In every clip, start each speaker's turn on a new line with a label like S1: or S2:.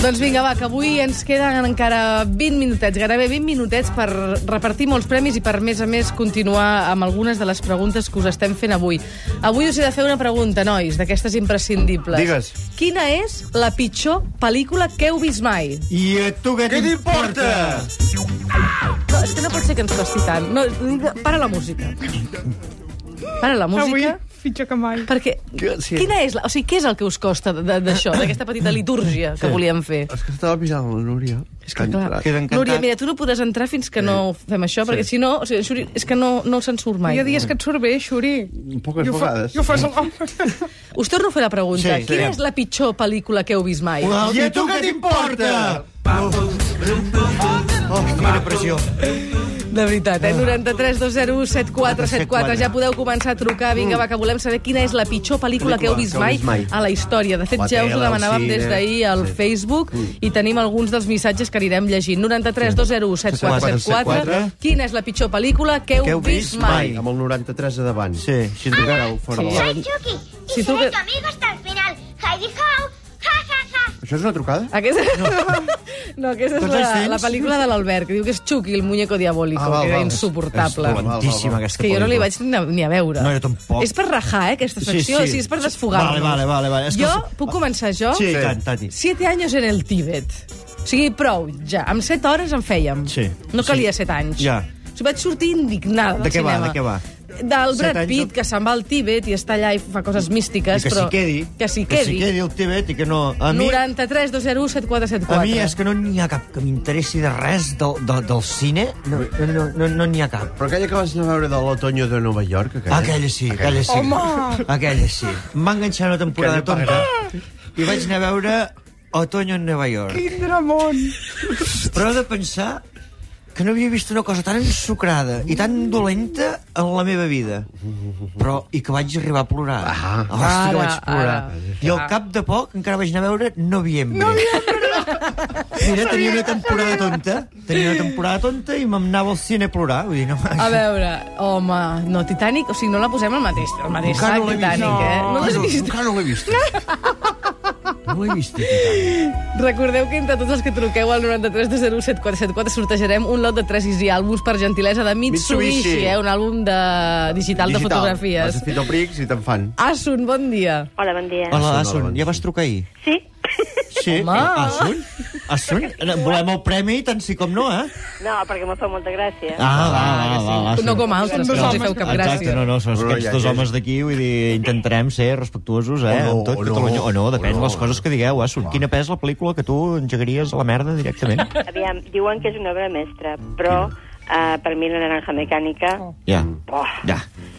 S1: Doncs vinga, va, que avui ens queden encara 20 minutets, gairebé 20 minutets per repartir molts premis i per, a més a més, continuar amb algunes de les preguntes que us estem fent avui. Avui us he de fer una pregunta, nois, d'aquestes imprescindibles.
S2: Digues.
S1: Quina és la pitjor pel·lícula que heu vist mai?
S2: I a tu què
S3: Què t'importa?
S1: No, és que no pot ser que ens costi tant. No, para la música. Para la
S4: Avui,
S1: música.
S4: pitjor que mai.
S1: Perquè,
S2: Que- sí.
S1: quina és la, o sigui, què és el que us costa d- d'això, d'aquesta petita litúrgia que volíem fer?
S2: És que estava pijant la Núria.
S1: És que, clar,
S3: Queda encantat.
S1: Núria, mira, tu no podràs entrar fins que no fem això, perquè si no, o sigui, Xuri, és que no, no se'n surt mai.
S4: Hi ha dies que et surt bé, Xuri.
S2: Poques
S4: I ho fa-
S2: vegades.
S4: I ho fas a l'home.
S1: Us torno a fer la pregunta.
S2: Sí, sí.
S1: Quina és la pitjor pel·lícula que heu vist mai?
S2: I a tu què t'importa? Oh, quina pressió.
S1: De veritat, eh? 93 201 7474. Ja podeu començar a trucar. Vinga, va, que volem saber quina és la pitjor Mm. pel·lícula que heu vist mai a la història. De fet,
S2: La
S1: ja us
S2: tele,
S1: ho
S2: el
S1: demanàvem
S2: cine.
S1: des d'ahir al Facebook i tenim alguns dels missatges que anirem llegint. 93 201 7474. Quina és la pitjor pel·lícula que heu vist mai?
S2: Amb el 93 a davant.
S3: Sí, així és que...
S2: Fora
S1: Sí.
S2: de la...
S5: Soy Chucky y
S1: Si tú
S5: seré
S1: que-
S5: tu amigo hasta el final. Heidi Ho, ja ja ja.
S2: Això és una trucada?
S1: Aquesta... No. aquesta és
S3: Tots els
S1: la,
S3: tens?
S1: la pel·lícula de l'Albert, que diu que és Chucky, el muñeco diabólico, que era insuportable.
S3: És dolentíssima, aquesta
S1: que jo no li
S3: pel·lícula.
S1: vaig ni a, ni a veure.
S3: No, jo tampoc.
S1: És per rajar, eh, aquesta
S3: Sí,
S1: secció.
S3: sí.
S1: Sí, sí. O sigui, és per desfogar-nos.
S3: Vale, vale, vale, vale. És que
S1: Jo,
S3: els-
S1: puc començar jo?
S3: Sí, i tant, Tati.
S1: Siete años en el Tíbet. O sigui, prou, ja. Amb set hores en fèiem.
S3: Sí.
S1: No calia
S3: Sí.
S1: set anys.
S3: Ja.
S1: O sigui, vaig sortir indignada
S3: De
S1: del
S3: què va,
S1: cinema.
S3: de què va?
S1: Del
S3: Set
S1: Brad
S3: anys
S1: Pitt,
S3: de-
S1: que se'n va al Tíbet i està allà i fa coses místiques.
S3: I que
S1: però...
S3: s'hi quedi.
S1: Que s'hi quedi.
S3: Que s'hi quedi el Tibet i que no... A mi,
S1: 93 201 7474.
S3: a mi és que no n'hi ha cap que m'interessi de res del, del, del cine. No n'hi no, no, no, n'hi ha cap.
S2: Però aquella que vas anar a veure de l'Otoño de Nova York...
S3: Aquella sí, aquella sí.
S4: Home!
S3: Aquella sí. Em va enganxar una temporada
S2: Aquella
S3: tonta i vaig anar a veure Otoño en Nova York.
S4: Quin dramón!
S3: Però he de pensar que no havia vist una cosa tan ensucrada i tan dolenta en la meva vida. Però, i que vaig arribar a plorar. Ah, Hosti, que
S1: Ara,
S3: vaig plorar.
S1: ara.
S3: I al cap de poc encara vaig anar a veure Noviembre. Noviembre! Mira, tenia una temporada tonta. Tenia una temporada tonta i me'n anava al cine a plorar. Vull dir, no,
S1: A veure, home, no, Titanic, o sigui, no la posem al mateix, al mateix
S3: Encara
S1: sac,
S3: no l'he vist.
S1: Titanic, eh?
S4: No.
S1: No l'has vist?
S2: Encara no l'he vist.
S3: no l'he vist. Titanic.
S1: Recordeu que entre tots els que truqueu al 93 201 7474 sortejarem un lot de 3 Easy àlbums per gentilesa de Mitsubishi,
S2: Mitsubishi.
S1: eh? un àlbum de... digital, de fotografies.
S2: Has fet el Prix i te'n fan.
S1: Asun, bon dia.
S6: Hola, bon dia.
S3: Hola,
S2: Hola,
S3: Asun,
S2: bon
S3: ja vas trucar ahir?
S6: Sí?
S3: Sí,
S1: Home.
S3: Asun. Asun, volem el premi tant sí com no, eh?
S6: No, perquè m'ho fa molta gràcia.
S3: Ah, va, va, va, va
S1: No com altres, que no els hi feu cap
S3: Exacte,
S1: gràcia.
S3: no, no, són
S2: No, no,
S3: aquests
S2: ja,
S3: dos
S2: ja.
S3: homes d'aquí, vull dir, intentarem ser respectuosos, eh,
S2: O no,
S3: amb tot
S2: o no,
S3: Catalunya. O no, depèn
S2: o no.
S3: de les coses que digueu, eh, Asun. Quina pes la pel·lícula que tu engegaries a la merda directament?
S6: Aviam, diuen que és una obra mestra, però uh, per mi la naranja mecànica...
S3: Ja,
S6: Oh.
S3: ja,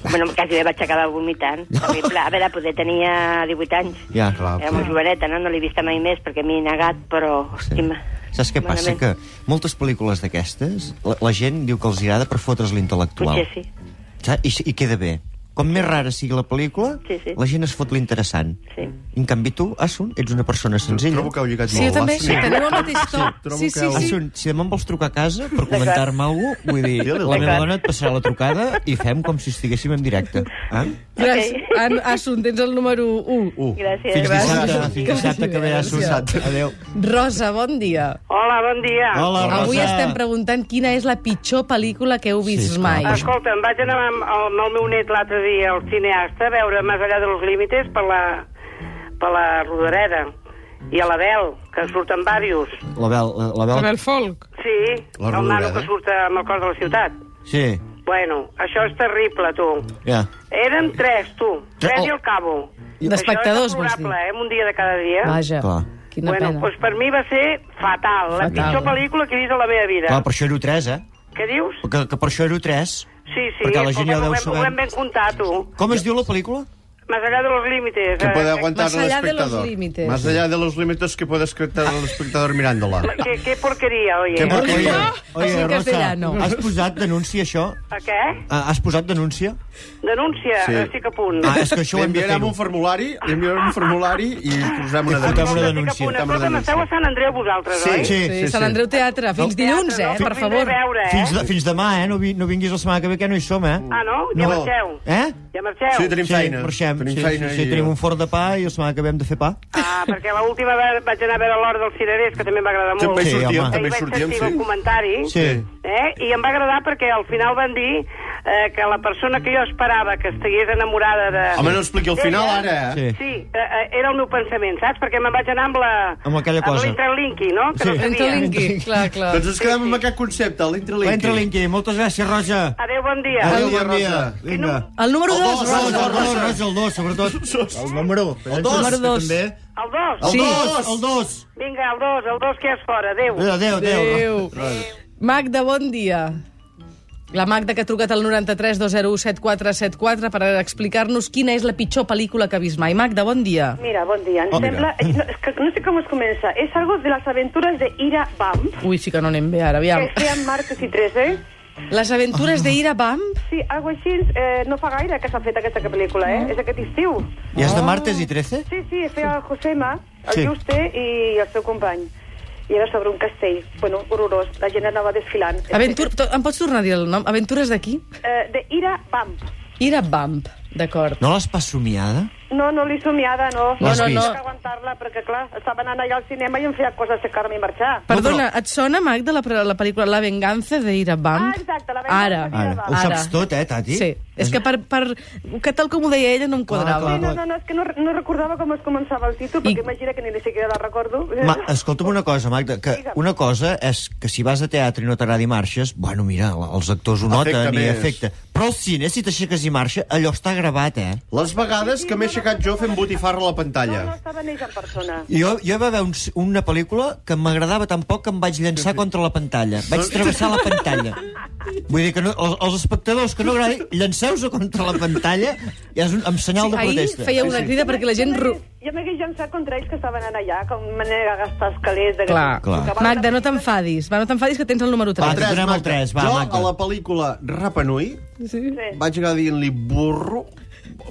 S6: Bueno, quasi bé vaig acabar vomitant. Terrible. A veure, poder tenia 18 anys.
S3: ja.
S2: Clar.
S6: Era molt joveneta, no? No l'he vista mai més perquè m'he negat, però...
S3: Sí.
S6: Hòstima.
S3: Saps què passa? Que
S6: Malament.
S3: moltes pel·lícules d'aquestes, la, la gent diu que els agrada per fotre's l'intel·lectual.
S6: Potser sí.
S3: Saps? I, I queda bé. Com més rara sigui la pel·lícula,
S6: Sí, sí.
S3: la gent es fot l'interessant.
S6: Sí.
S3: En canvi, tu, Asun, ets una persona senzilla.
S2: Trobo que heu lligat
S1: Sí,
S2: molt.
S1: jo també,
S2: Vas,
S1: sí,
S2: Núria.
S1: teniu el mateix to.
S2: trobo
S1: Sí,
S2: que
S1: sí,
S2: ho-
S1: sí.
S3: Asun, Ah, si demà em vols trucar a casa per comentar-me alguna cosa, vull dir, la
S2: D'acord.
S3: meva dona et passarà la trucada i fem com si estiguéssim en directe. Eh?
S1: Gràcies. An- Asun, tens el número 1.
S2: Uh,
S6: Gràcies.
S3: Fins
S1: gràcies.
S3: dissabte, fins
S1: Que
S3: dissabte
S1: vagi
S3: que ve
S1: bé,
S3: Asun. Adéu.
S1: Rosa, bon dia.
S6: Hola, bon dia.
S1: Ah.
S3: Hola, Rosa.
S1: Avui estem preguntant quina és la pitjor pel·lícula que heu
S3: Sí,
S1: vist mai.
S3: esclar.
S7: Escolta, em vaig anar amb, amb el meu net l'altre dia al cineasta a veure Més allà dels límites per la, per la Rodareda i a l'Abel, que surten diversos.
S3: L'Abel, l'Abel...
S4: Abel Folk.
S7: Sí,
S2: La
S7: el nano
S2: Rodoreda?
S7: que surt amb el cor de la ciutat.
S3: Sí,
S7: Bueno, això és terrible, tu.
S3: ja.
S7: Érem tres, tu. Tres
S3: Oh.
S7: i al cabo.
S1: D'espectadors,
S7: Això
S1: vols
S7: és
S1: dir?
S7: deplorable, eh? amb Un dia de cada dia.
S1: Vaja,
S3: Clar.
S1: quina
S7: bueno,
S1: pena.
S7: doncs per mi va ser fatal. La
S1: Fatal.
S7: pitjor pel·lícula que he vist a la meva vida.
S3: Clar, per això era 3, eh?
S7: Què dius?
S3: Que, que per això era 3.
S7: Sí, sí.
S3: Perquè la gent ja
S7: escolta,
S3: deu
S7: ho hem,
S3: saber.
S7: Ho hem ben comptat, tu.
S3: Com es diu la pel·lícula?
S7: Más allá de los límites.
S2: Que puede
S7: eh,
S2: aguantar
S1: Más
S2: el
S1: allá de los
S2: espectador.
S1: límites.
S2: Más allá de los límites que puede escuchar el espectador mirándola.
S7: Qué, qué porquería, oye.
S2: Qué porqueria.
S3: Oye,
S1: Així en
S3: oye
S1: castellano.
S3: Rosa, has posat denúncia, això?
S7: A què?
S3: Ah, Has posat denúncia?
S7: Denúncia,
S2: Sí.
S7: sí. estic a punt.
S3: Ah, és que això ho hem de
S2: Enviarem
S3: fer-ho.
S2: un formulari, enviarem un formulari i posarem una
S3: I fotem una
S2: denúncia.
S3: denúncia.
S2: Fotem
S7: Una
S2: una
S7: cosa,
S2: denúncia.
S7: esteu a Sant Andreu vosaltres,
S3: Sí,
S7: oi?
S3: sí,
S1: Sí,
S3: sí.
S1: Sant Andreu Teatre. Fins dilluns, eh, per
S7: Fins
S1: favor.
S7: a veure, eh?
S3: Fins, de, fins demà, eh? No, vi, no vinguis la setmana que ve, que no hi som, eh?
S7: Ah, no?
S2: No.
S7: Ja marxeu?
S3: Eh?
S7: Ja marxeu?
S2: Sí, tenim
S3: sí,
S2: feina.
S3: marxem.
S2: Tenim
S3: sí,
S2: feina
S3: sí, sí,
S2: i-
S3: tenim un forn de pa i la setmana que ve hem de fer pa.
S7: Ah, perquè l'última ve- vaig anar a veure l'Hora dels Cirerers, que també em va agradar molt.
S2: També hi
S3: Sí,
S2: sortíem,
S3: home.
S7: Ahir
S2: també hi
S7: vaig
S2: sortíem,
S7: sentir el
S2: sí.
S7: comentari,
S3: Sí.
S7: eh? i em va agradar perquè al final van dir eh, que la persona que jo esperava que estigués enamorada de...
S2: Home, no expliqui el
S7: d'ella,
S2: final, ara. eh?
S3: Sí.
S7: Sí, eh, eh, era el meu pensament, saps? Perquè me'n vaig anar amb la...
S3: Amb aquella cosa.
S7: Amb l'intralinqui, no? Que
S3: Sí.
S7: no sabia.
S1: Entrelinqui, clar, clar.
S2: Doncs ens quedem amb aquest concepte, l'intralinqui.
S3: Entra, Linky. Moltes gràcies, Rosa.
S7: Adéu, bon dia.
S2: Adéu,
S3: Adéu, bon
S2: Rosa.
S3: dia. Vinga.
S1: El número 2,
S3: Rosa,
S1: Rosa.
S3: Rosa, Rosa, Rosa, el dos, sobretot. El número. El dos. eh,
S1: Número dos.
S3: També.
S7: El dos?
S3: El
S1: Sí.
S3: dos, el dos.
S7: Vinga, el dos, el dos que és fora. Adéu.
S3: Adéu, adéu. adéu.
S1: Adéu. Magda, bon dia. La Magda que ha trucat al 93 201 7474 per explicar-nos quina és la pitjor pel·lícula que ha vist mai. Magda, bon dia.
S8: Mira, bon dia. Em
S3: Oh,
S8: sembla... eh, No, es que no sé com es comença. És algo de les aventures de Ira Bump,
S1: Ui, sí que no anem bé ara, aviam.
S8: que feien Marcos i Trece.
S1: Les aventures d'Ira Bamp?
S8: eh? Sí, algo així. Eh, no fa gaire que s'ha fet aquesta pel·lícula, eh? És aquest estiu.
S3: I és de martes i 13?
S8: Sí, sí, es feia el Josema, el
S3: Sí.
S8: sí. Juste i el seu company. I era sobre un castell, bueno, horrorós. La gent anava desfilant.
S1: Aventur... to- Em pots tornar a dir el nom? Aventures d'aquí?
S8: Eh, de Ira Bump.
S1: Ira Bamp, d'acord.
S3: No l'has pas somiada?
S8: No, no l'he somiada, no.
S1: No, no, no.
S8: Vaig aguantar-la, perquè, clar, estava anant allà al cinema i em feia coses secar-me i marxar.
S1: Perdona, et sona, Magda, la, pre- la pel·lícula La venganza d'Ira Bamp?
S8: Ah, exacte, La venganza
S1: Ara.
S8: d'Ira
S3: Ara.
S8: Bamp.
S3: Ho
S1: Ara.
S3: saps tot, eh, Tati?
S1: Sí, és que per, per... que tal com ho deia ella no em quadrava.
S3: Ah, clar,
S8: Sí, no, no, no, és que no, no recordava com es començava el títol,
S1: I-
S8: perquè imagina que ni siquiera la recordo.
S3: Ma, escolta'm una cosa, Magda, que
S8: Digue'm.
S3: una cosa és que si vas a teatre i no t'agradi marxes, bueno, mira, la- els actors ho
S2: Afecta
S3: noten i
S2: més.
S3: afecta. Però al cine, si t'aixeques i marxa, allò està gravat, eh?
S2: Les vegades que m'he aixecat jo fent botifarra a la pantalla.
S8: No, no estava neix en persona.
S3: Jo, jo hi va haver un, una pel·lícula que m'agradava tan poc que em vaig llançar contra la pantalla. Vaig travessar la pantalla. Vull dir que no, els, els espectadors que no agradi, llanceu-se contra la pantalla i és un, amb senyal de
S1: Ahir
S3: protesta.
S1: feia una crida perquè la gent...
S8: Jo
S1: ru-
S8: m'hagués- Jo m'hagués llançat contra ells que estaven anant allà, com manera de gastar els calés. De...
S1: Clar.
S3: Clar.
S8: que van-
S1: Magda, no t'enfadis. Va, no t'enfadis que tens el número
S3: Va,
S1: 3.
S3: tres, donem el tres, va,
S2: jo
S3: Magda.
S2: a la pel·lícula Rapa Nui
S1: Sí.
S8: Sí.
S2: vaig acabar dient-li burro,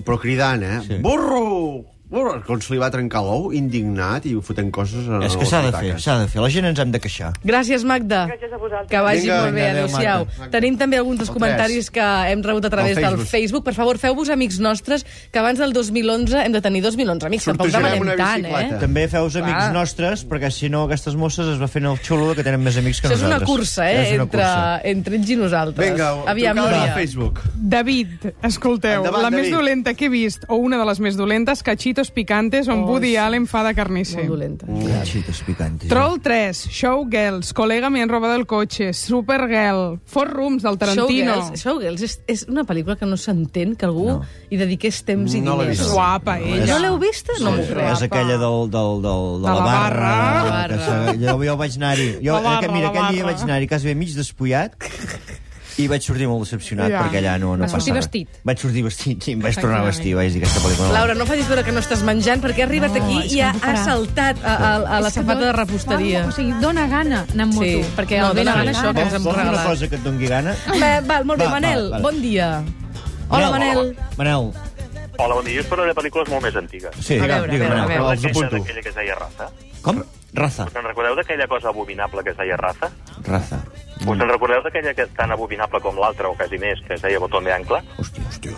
S2: però cridant, eh?
S3: Sí.
S2: Burro! Burro! Com se li va trencar l'ou, indignat, i fotent coses a
S3: És que s'ha de fer, s'ha de fer. La gent ens hem de queixar.
S1: Gràcies, Magda.
S8: Gràcies a vosaltres.
S1: Que vagi
S2: Vinga,
S1: molt bé,
S3: vinga, adéu,
S1: adéu-siau.
S3: Magda.
S2: Magda.
S1: Tenim també alguns dels
S2: El
S1: comentaris que hem rebut a través
S2: Al
S1: del
S2: Facebook.
S1: Facebook. Per favor, feu-vos amics nostres, que abans del 2011 hem de tenir 2.011 amics. Tampoc
S2: Sortejarem
S1: demanem
S2: una
S1: tant,
S2: bicicleta.
S1: eh?
S3: També feus amics
S1: Clar.
S3: nostres, perquè si no aquestes mosses es va fent el xulo que tenen més amics que
S1: Això és una
S3: nosaltres.
S1: cursa, eh?
S3: És una
S1: Entre,
S3: cursa.
S1: entre ells i nosaltres.
S2: Vinga,
S1: Aviam,
S2: trucada a
S1: Núria.
S2: Facebook.
S4: David, escolteu,
S2: Endavant,
S4: la
S2: David.
S4: més dolenta que he vist, o una de les més dolentes, Cachitos Picantes, on Woody Allen fa de carnisser.
S1: Molt dolenta.
S3: Xites picantes.
S4: Troll 3, Showgirls, Colega me han robado el coche, Supergirl, Four Rooms del Tarantino.
S1: Showgirls, Showgirls és, és una pel·lícula que no s'entén que algú no. hi dediqués temps i
S2: No l'he
S1: diners.
S2: vist.
S4: Guapa, ella.
S1: No l'heu vista? No m'ho crec.
S3: És aquella del, del, del, de, la,
S4: la barra.
S3: barra.
S1: La
S3: que
S1: barra.
S3: s'ha- Jo, jo vaig anar-hi. Jo,
S4: La barra,
S3: aquell- mira,
S4: la
S3: aquell dia
S4: barra.
S3: vaig anar-hi quasi bé mig despullat i vaig sortir molt decepcionat
S4: Ja.
S3: perquè allà no, no
S1: Vas
S3: passa
S1: sortir
S3: res.
S1: vestit.
S3: Vaig sortir vestit, sí, em vaig tornar a vestir, vaig dir aquesta pel·lícula. no.
S1: Laura, no facis veure que no estàs menjant, perquè ha arribat no, aquí i ha, ha saltat a, a, a la
S9: És que
S1: safata de
S9: dona-
S1: reposteria.
S9: O sigui, dona gana anar amb moto.
S1: Sí.
S9: Perquè
S1: No,
S9: el vent
S1: dona
S9: a la
S1: gana això, que
S9: cara.
S1: ens hem
S3: Vols dir una
S1: regalat.
S3: cosa que et doni gana?
S1: Va, val, molt bé,
S3: Va,
S1: Manel,
S3: va, va.
S1: bon dia. Hola, Manel.
S3: Manel,
S10: Hola, bon dia. Jo us parlaré de pel·lícules molt més antigues.
S3: sí,
S1: A veure,
S3: digue'm,
S1: a veure, a
S3: Manel,
S1: veure.
S3: els
S10: Aquella
S3: apunto.
S10: d'aquella que es deia Raza.
S3: Com? Raza.
S10: Us en recordeu d'aquella cosa abominable que es deia Raza?
S3: Mm. Raza.
S10: Us en recordeu d'aquella que és tan abominable com l'altra, o quasi més, que es deia Botón de Ancla?
S3: Hòstia, hòstia.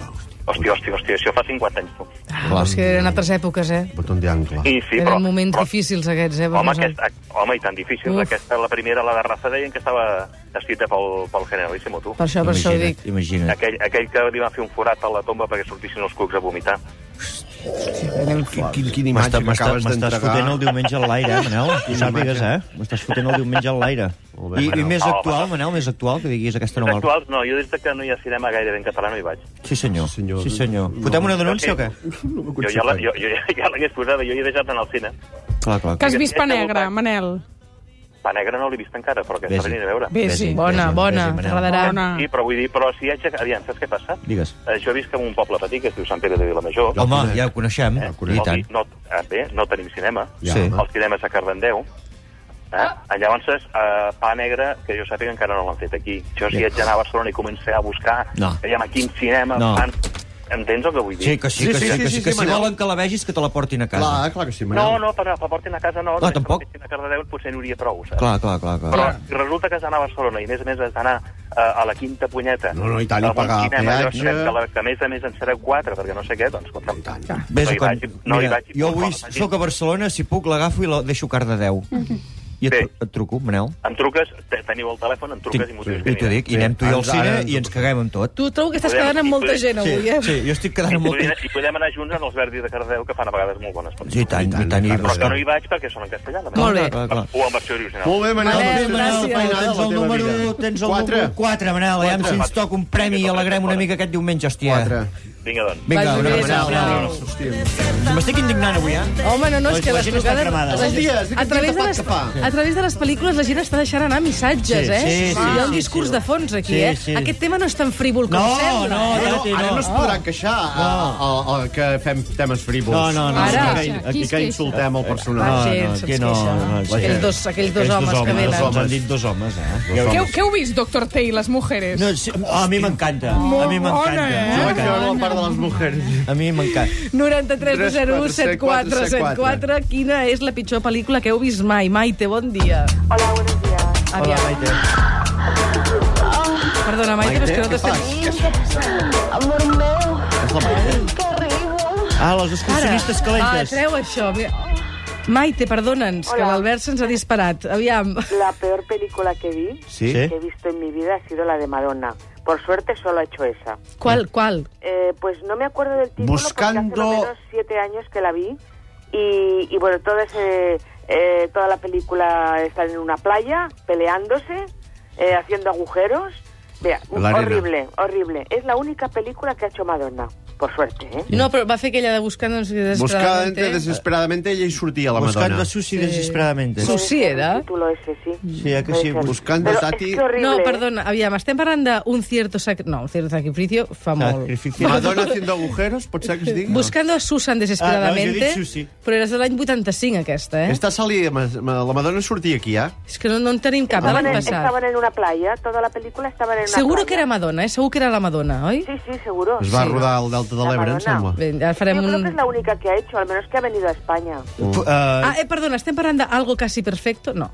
S10: Hòstia, hòstia, hòstia, això fa 50 anys. tu.
S1: Ah, però és que eren altres èpoques, eh?
S2: Botón de ancla.
S10: I sí, però...
S1: Eren moments
S10: però,
S1: difícils, aquests, eh? per
S10: Home,
S1: nosaltres.
S10: aquesta, home, i tan difícil.
S1: Uf.
S10: Aquesta, la primera, la de Raza, deien que estava escrita pel, pel Generalíssimo, tu.
S3: Ah,
S1: Per això, per això ho dic.
S3: Imagina't, imagina't.
S10: Aquell, aquell que li va fer un forat a la tomba perquè sortissin els cucs a vomitar.
S2: Quin, quin, quina imatge que
S3: M'està- m'està-
S2: acabes
S3: M'estàs fotent el
S2: d'entregar.
S3: diumenge al l'aire, eh, Manel? Que ho sàpigues, eh? M'estàs fotent el diumenge al l'aire.
S2: Molt bé,
S3: I, I
S2: Manel.
S3: més
S10: Home.
S3: actual, Manel, més actual, que diguis aquesta no
S10: No,
S3: me'l...
S10: actuals, no, jo des de que no hi ha cinema gaire ben català no hi vaig.
S3: Sí, senyor.
S2: Sí, senyor.
S3: Sí, senyor.
S2: No.
S3: Fotem una denúncia o què?
S2: No m'ho
S10: Jo ja la-
S2: consigo.
S10: jo- jo ja l'hagués posada, jo hi he deixat anar al cine.
S3: Clar, clar.
S4: Que has
S10: Digue'm,
S4: vist pa
S10: aquesta
S4: negre,
S10: voluntat.
S4: Manel.
S10: Pa negra no l'he vist encara, però aquesta
S3: Vés-hi.
S10: l'he de veure.
S4: Vés-hi.
S1: Bona,
S3: vés-hi,
S1: bona,
S3: vés-hi, Manel.
S1: t'agradarà.
S4: Bona.
S10: Sí, però vull dir, però si hi haig... Aviam, saps què passa?
S3: Digues.
S10: Eh, jo visc en un poble petit que es diu Sant Pere de Vilamajor.
S3: Home, ja ho coneixem,
S10: Eh,
S3: i
S10: no,
S3: tant.
S10: no, eh, bé, no tenim cinema.
S3: Ja, Sí. home.
S10: El cinema és a Cardendeu. Eh? Ah. Llavors, eh, pa negre, que jo sàpiga, encara no l'han fet aquí. Jo si
S3: Ja.
S10: haig d'anar a Barcelona i començar a buscar,
S3: No.
S10: aviam, a quin cinema
S3: No.
S10: fan... Entens el que vull dir?
S3: Sí, que sí, que sí, que, sí, que, sí, que si
S2: Manel.
S3: volen que la vegis, que te la portin a casa.
S2: Clar, clar que sí, Manel.
S10: No, no, per, per portin a casa no.
S3: No, tampoc.
S10: Si a Cardedeu potser n'hi hauria prou, saps?
S3: Clar, clar, clar. clar.
S10: Però si resulta que has d'anar a Barcelona i, a més a més, has d'anar eh, a la quinta punyeta.
S2: No, no, i tant, i
S10: a un
S2: pagar
S10: cinema, jo
S2: peatge.
S10: sé Que, la, que a més a més en sereu quatre, perquè no sé què, doncs... Com,
S2: I tant.
S3: Ves
S10: no
S3: a
S10: hi
S3: quan...
S10: vaig, no hi
S3: Mira,
S10: vaig.
S3: jo avui
S10: Bueno,
S3: sóc a Barcelona, si puc l'agafo i la deixo car de 10. I et,
S10: Bé.
S3: tru- et truco, Manel.
S10: Em truques, te- teniu el telèfon, em truques i m'ho dius.
S3: I t'ho dic, i anem tu i jo al
S2: Ara,
S3: cine
S2: ara
S3: i ens caguem amb tot.
S1: Tu trobo que estàs
S10: Podem-
S1: quedant amb molta gent
S3: Sí,
S1: avui, eh?
S3: sí, jo estic quedant
S10: I
S3: amb molt...
S10: podem, I podem anar junts en els verdis de Cardeu, que fan a vegades molt bones pel·lícules.
S3: Sí, i tant,
S2: I tant,
S3: i tant. I
S2: clar,
S10: Però que no
S3: bastant.
S10: hi vaig perquè són en castellà. la
S1: Molt bé.
S10: veritat.
S3: Clar, clar.
S10: O en versió original.
S2: Molt bé, Manel.
S1: Manel,
S2: doncs fes
S1: gràcies.
S2: una feinada de la
S3: Tens el
S2: teva
S3: número,
S2: vida.
S3: tens el
S2: Quatre.
S3: número 4, Manel. Aviam si ens toca un premi i alegrem una mica aquest diumenge, hòstia.
S2: Quatre.
S10: Vinga, doncs.
S3: Vinga,
S1: Vagi
S3: una
S1: bé, Oh,
S3: abraçada.
S1: sisplau.
S3: Manel.
S2: Hòstia.
S3: M'estic indignant avui, eh?
S1: Home, no, no, és
S3: La-
S1: que
S3: la
S1: les
S3: gent està
S1: trucades...
S3: cremada.
S1: la gent-
S2: Els dies,
S1: a, través de
S2: quin
S1: les,
S2: tapat que fa.
S1: a través de les pel·lícules la gent està deixant anar missatges,
S3: Sí,
S1: eh?
S3: sí, sí,
S1: Hi ha un
S3: sí,
S1: discurs
S3: sí.
S1: de fons aquí,
S3: Sí,
S1: eh?
S3: sí.
S1: Aquest tema no és tan frívol com
S3: No,
S1: sembla.
S3: no,
S2: No,
S1: eh?
S3: Espérate,
S2: ara
S3: no.
S2: no es podran queixar a, a, a, a que fem temes frívols.
S3: Ah. No, no, Eh, no.
S1: Ara.
S2: Aquí, que- aquí que insultem el personal.
S1: Va,
S3: No,
S1: gent,
S3: no,
S1: se'ns
S3: aquí no,
S1: queixa.
S3: no,
S1: Aquells
S3: gent.
S1: dos- aquells dos homes que venen.
S3: Dos homes, ens han dit dos homes, eh?
S2: Dos
S4: Què,
S2: homes.
S4: què heu vist, Doctor T i les mujeres?
S3: No, sí, a mi m'encanta. A mi
S4: Molt bona, eh?
S2: Jo vaig
S3: m'encanta.
S2: veure la part de les mujeres.
S3: A mi m'encanta.
S1: 93 201 7474 Quina és la pitjor pel·lícula que heu vist mai? Maite, bon dia.
S8: Hola, buenos días.
S1: Aviam. Ah. Perdona, Maite, però és que no
S2: Maite, què
S1: t'estem...
S2: fas?
S5: Amor meu,
S2: És la Maite.
S5: que riu.
S3: Ah, les excursionistes
S1: va,
S3: calentes.
S1: Ah, treu això. Mira. Maite, perdona'ns, que
S8: Hola.
S1: l'Albert se'ns ha disparat. Aviam.
S8: La peor película que vi,
S3: Sí?
S8: que he visto en mi vida, ha sido la de Madonna. Por suerte solo he hecho esa.
S1: Qual, qual?
S8: Eh, pues no me acuerdo del título
S2: Buscando-
S8: porque hace lo menos siete años que la vi y, y bueno todo ese eh, toda la película están en una playa peleándose eh, haciendo agujeros Vea,
S2: La arena.
S8: horrible horrible es la única película que ha hecho Madonna por suerte ¿eh?
S1: No, però va fer aquella de Buscant no sé,
S2: Buscant
S1: desesperadamente.
S2: desesperadamente, ella hi sortia, la
S3: Buscant
S2: Madonna.
S3: la Susi desesperadamente.
S1: Susi. Sí, era.
S8: El título ese sí
S3: Sí, ¿a que
S8: Puede
S3: sí?
S8: ser.
S2: Buscando
S8: Pero
S2: Tati.
S8: es que horrible,
S1: No,
S8: ¿eh?
S1: perdona, aviam, estem parlant d'un cierto sac... No, un cierto sacrificio fa molt.
S3: Sacrifici.
S2: Madonna haciendo agujeros, pot ser que es digui?
S1: Buscando a Susan
S3: Ah,
S1: desesperadamente,
S3: no, jo he dit Susi.
S1: però era de l'any 85, aquesta, eh?
S2: Està salida, ma- ma- la Madonna sortia aquí, eh? ja?
S1: És que no, no en tenim cap, de
S8: estaban,
S1: l'any
S8: en,
S1: passat.
S8: estaban en una playa toda la película estaban en una
S1: Seguro que
S8: playa.
S1: era Madonna, eh? Segur que era la Madonna, oi?
S8: sí sí seguro
S2: Es va
S8: Sí.
S2: rodar al Delta de
S8: La
S2: l'Ebre, em
S8: Madonna.
S2: sembla.
S1: Bé, ara farem
S8: Yo creo
S1: un...
S8: que es la única que ha hecho, al menos que ha venido a España.
S1: Ah,
S3: Uh,
S1: eh, perdona, estem parlant d'Algo Casi Perfecto? No.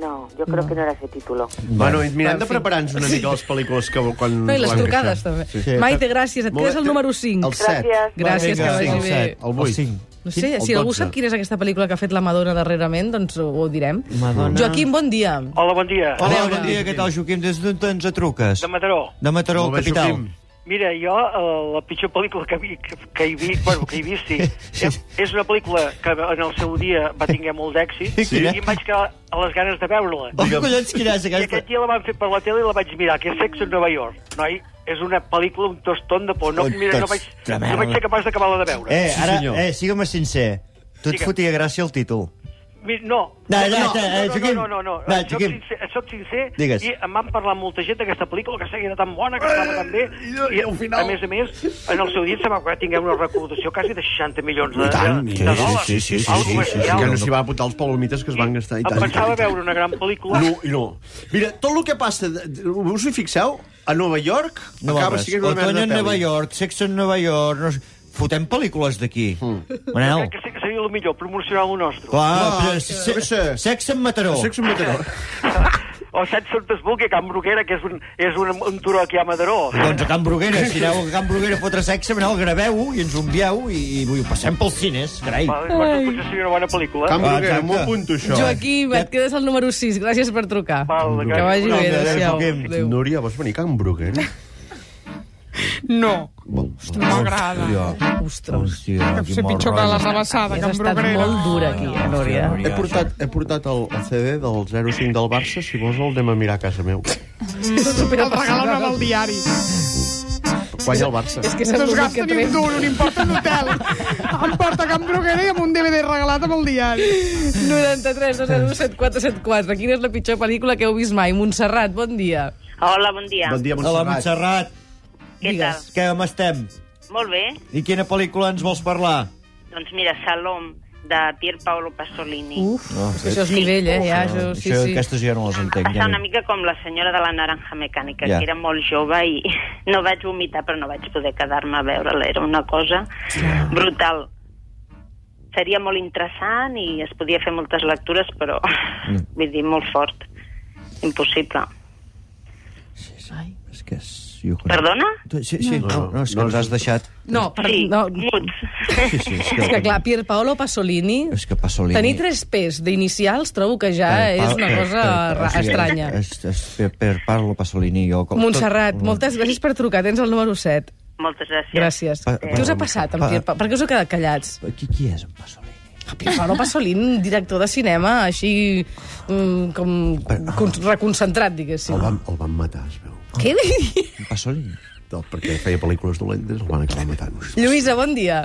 S8: No, yo creo que no era ese título.
S2: Bueno, i mirem de
S1: En fi.
S2: preparar-nos una mica les pel·lícules que... Quan,
S1: No, i les
S2: quan
S1: trucades,
S2: queixem.
S1: també.
S2: Sí.
S1: Maite, gràcies. Et
S2: Molt bé,
S1: quedes el número 5.
S2: El 7.
S8: Gràcies.
S1: Gràcies,
S2: Vinga,
S1: que
S2: el
S1: vagi bé.
S2: set, El 8.
S3: El 5.
S1: No sé,
S2: El
S1: si algú
S2: 12.
S1: sap quina és aquesta pel·lícula que ha fet la Madonna darrerament, doncs ho, ho direm.
S3: Madonna.
S1: Joaquim, bon dia.
S9: Hola, bon dia.
S8: Ah,
S3: Hola, bon dia, què tal, Joaquim? Des d'on ens truques?
S9: De Mataró.
S3: De Mataró,
S2: Molt bé,
S3: capital.
S2: Joaquim.
S9: Mira, jo, eh, la pitjor pel·lícula que, vi, que, que hi vi, bueno, que he vist, sí, és, és una pel·lícula que en el seu dia va tenir molt d'èxit
S3: Sí,
S9: i
S3: quina?
S9: em vaig quedar a les ganes de veure-la.
S3: Oh, collons, quina és
S9: I
S3: aquesta?
S9: aquest dia la van fer per la tele i la vaig mirar, que és Sexo en Nova York, noi? És una pel·lícula, un tostón de por. No,
S3: Un
S9: mira, no
S3: tos
S9: vaig,
S3: de merda.
S9: no vaig ser capaç d'acabar-la de veure.
S3: Eh,
S2: Sí,
S3: ara,
S2: senyor.
S3: eh, sigue'm sincer. Tu et
S9: Digue'm.
S3: fotia gràcia el títol.
S9: Mi- No.
S3: No, ja, ja, eh,
S9: no,
S3: Joaquim.
S9: no, no, no, no.
S3: Va,
S9: soc,
S3: Joaquim.
S9: sincer, soc sincer
S3: Digues.
S9: i em van parlar molta gent d'aquesta pel·lícula que seguia tan bona, que estava tan bé.
S2: i no- i al final-
S9: Ah, A més a més, en el seu dia em sembla que tinguem una recaudació quasi de 60 milions de,
S2: I tant,
S9: de,
S2: sí,
S9: de
S2: sí,
S9: dòlars.
S3: sí, sí, sí,
S9: Algo
S3: sí, sí, sí,
S9: bestial.
S2: Que no s'hi va apuntar els palomites que es van gastar. I tant,
S9: Em pensava
S2: i tant.
S9: veure una gran pel·lícula.
S2: No, i no. Mira, tot el que passa... de- de- Us hi fixeu? A Nova York
S3: No
S2: acaba
S3: val res.
S2: sent una merda
S3: Otoño
S2: de
S3: en Nova
S2: pel·li.
S3: York, Sexo en Nova York... No... sé- Fotem pel·lícules d'aquí. Mm. Manel,
S9: Crec que sí que seria el millor, promocionar el nostre.
S3: clar,
S2: Clar,
S3: però
S2: sí, jo què sé.
S3: se- Sexe en Mataró.
S2: Sexo
S9: Ah,
S2: amb Mataró.
S9: O Set Sottesbuc i Can Bruguera, que és un, és un, un turó aquí a Mataró.
S3: Doncs a Can Bruguera, si aneu a Can Bruguera a fotre sexe, Manel, graveu i ens ho envieu i, i ho passem pels cines, carai.
S9: Va, doncs potser seria una bona pel·líícula.
S2: Can Bruguera,
S3: Exacte.
S2: m'ho apunto, això. eh.
S1: Joaquim, et quedes el número 6. Gràcies per trucar.
S9: Val,
S1: Que vagi bé,
S3: Adéu,
S1: adéu-siau.
S3: Joaquim.
S1: Adéu.
S2: Núria, vols venir a Can Bruguera?
S4: No, no m'agrada.
S1: Ostres,
S3: Hòstia,
S4: Deu ser pitjor que la rebassada, que em
S1: has estat
S4: brocaré.
S1: molt dura aquí, eh, Núria.
S2: He portat, he portat el, el CD del 05 del Barça, si vols el anem a mirar a casa meu.
S4: Et regala una del diari.
S2: Guanya el Barça.
S1: És que
S4: no es
S1: l'únic
S4: gasta
S1: que
S4: ni un
S1: trec.
S4: duro, ni em porta un hotel. em porta Can Bruguera i amb un DVD regalat amb el diari.
S1: 93 201 7474. Quina és la pitjor pel·lícula que heu vist mai? Montserrat, bon dia.
S6: Hola, bon dia.
S2: Bon dia,
S3: Hola,
S2: Montserrat.
S3: Montserrat.
S6: Què tal?
S3: Què, com estem?
S6: Molt bé.
S3: I quina pel·lícula ens vols parlar?
S6: Doncs mira, Salom, de Pier Paolo
S3: Uh.
S6: Pasolini.
S1: Uf,
S3: No,
S1: és que això és nivell, eh? Ja, això, sí,
S3: Oh, això,
S1: sí.
S3: Aquestes jo no les
S6: Em va
S3: entenc.
S6: passar una mica com la senyora de la naranja mecànica,
S3: Ja.
S6: que era molt jove i no vaig vomitar, però no vaig poder quedar-me a veure-la. Era una cosa brutal. Seria molt interessant i es podia fer moltes lectures, però
S3: Mm.
S6: vull dir, molt fort. Impossible.
S1: Ai.
S3: És que és... Jo conec.
S6: Perdona?
S3: Tu- Sí, sí, no, no, no és que
S2: No,
S3: ens
S2: no.
S3: has deixat...
S1: No, per,
S6: Sí,
S1: no.
S6: muts.
S3: Sí, sí, és que,
S1: És que clar, Pier Paolo Pasolini...
S3: És que Pasolini...
S1: Tenir tres P's d'inicials trobo que ja
S4: Eh, ah,
S1: és una cosa ra- estranya.
S3: És, és, per, per Paolo Pasolini, jo... Com,
S1: Montserrat, moltes gràcies per trucar. Tens el número 7.
S6: Moltes gràcies.
S1: Gràcies.
S4: Ah,
S3: Pa-
S1: Què us ha passat amb
S3: pa-
S1: Pier Paolo? Per què us heu quedat callats?
S3: Qui, qui és en Pasolini?
S1: Pier Paolo Pasolini, director de cinema, així mm, com con- reconcentrat, diguéssim.
S2: El van, el van matar, es veu.
S4: Ah.
S1: Què dius?
S3: En Pasolini?
S2: Del, perquè feia pel·lícules dolentes, el van acabar matant.
S1: Lluïsa, bon dia.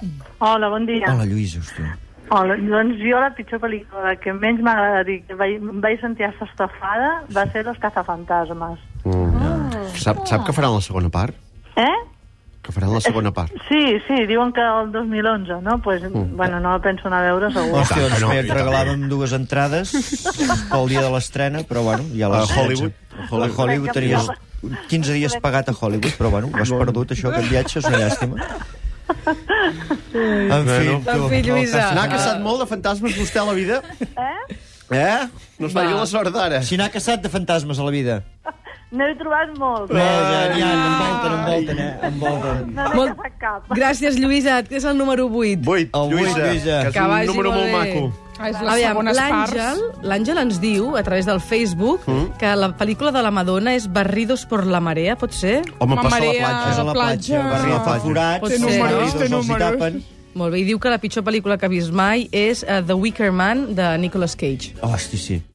S11: Hola, bon dia.
S3: Hola, Lluís, hòstia.
S11: Hola. Doncs jo la pitjor pel·lícula que menys m'ha agradat i que vaig, em vaig sentir estafada va ser Los cazafantasmes.
S2: Mm. Sap, sap que faran la segona part?
S11: Eh?
S2: Que faran la segona part.
S11: Sí, sí, diuen que el 2011, no? Pues,
S2: Mm.
S11: bueno, no la penso anar a veure, segur.
S2: tant
S3: Hòstia,
S2: que
S3: doncs
S2: no,
S3: bé,
S2: i
S3: et
S2: tant.
S3: regalàvem dues entrades pel dia de l'estrena, però bueno, ja les...
S2: A Hollywood.
S3: A Hollywood, a Hollywood tenies 15 dies pagat a Hollywood, però bueno, ho has perdut, això, aquest viatge, és una llàstima. En fi,
S2: Bueno.
S3: tu,
S1: En fi, Lluïsa.
S3: no,
S2: N'ha
S1: Ah.
S2: caçat molt de fantasmes vostè a la vida?
S3: que- Eh?
S2: No es va dir la sort d'ara.
S3: Si n'ha caçat de fantasmes a la vida.
S11: N'he trobat molt.
S3: Bé, genial, envolten, envolten, eh? Envolten.
S11: No n'he
S1: Molt-
S11: agafat cap.
S1: Gràcies, Lluïsa. Et és el número 8.
S2: Vuit,
S3: El vuit,
S2: Lluïsa,
S3: Lluïsa.
S2: que és
S1: Que
S2: un
S1: vagi
S2: número molt
S1: molt bé.
S2: maco.
S4: Ah, És les
S1: Aviam,
S4: segones
S1: l'Àngel
S4: parts.
S1: l'Àngel ens diu, a través del Facebook, mm? que la pel·lícula de la Madonna és Barridos por la marea, pot ser?
S2: Home,
S4: Ma
S2: passa a Ah, la
S4: Maria.
S3: És
S2: platja.
S3: a la platja,
S4: platja.
S3: barri fa
S1: Pot
S3: forats,
S1: ser,
S3: els
S1: números,
S3: barris
S4: té
S3: els hi
S4: números.
S3: tapen.
S1: Molt eh, bé, i diu que la pitjor pel·lícula que ha vist mai és uh, The Wicker Man, de Nicolas Cage.
S3: Hosti, sí.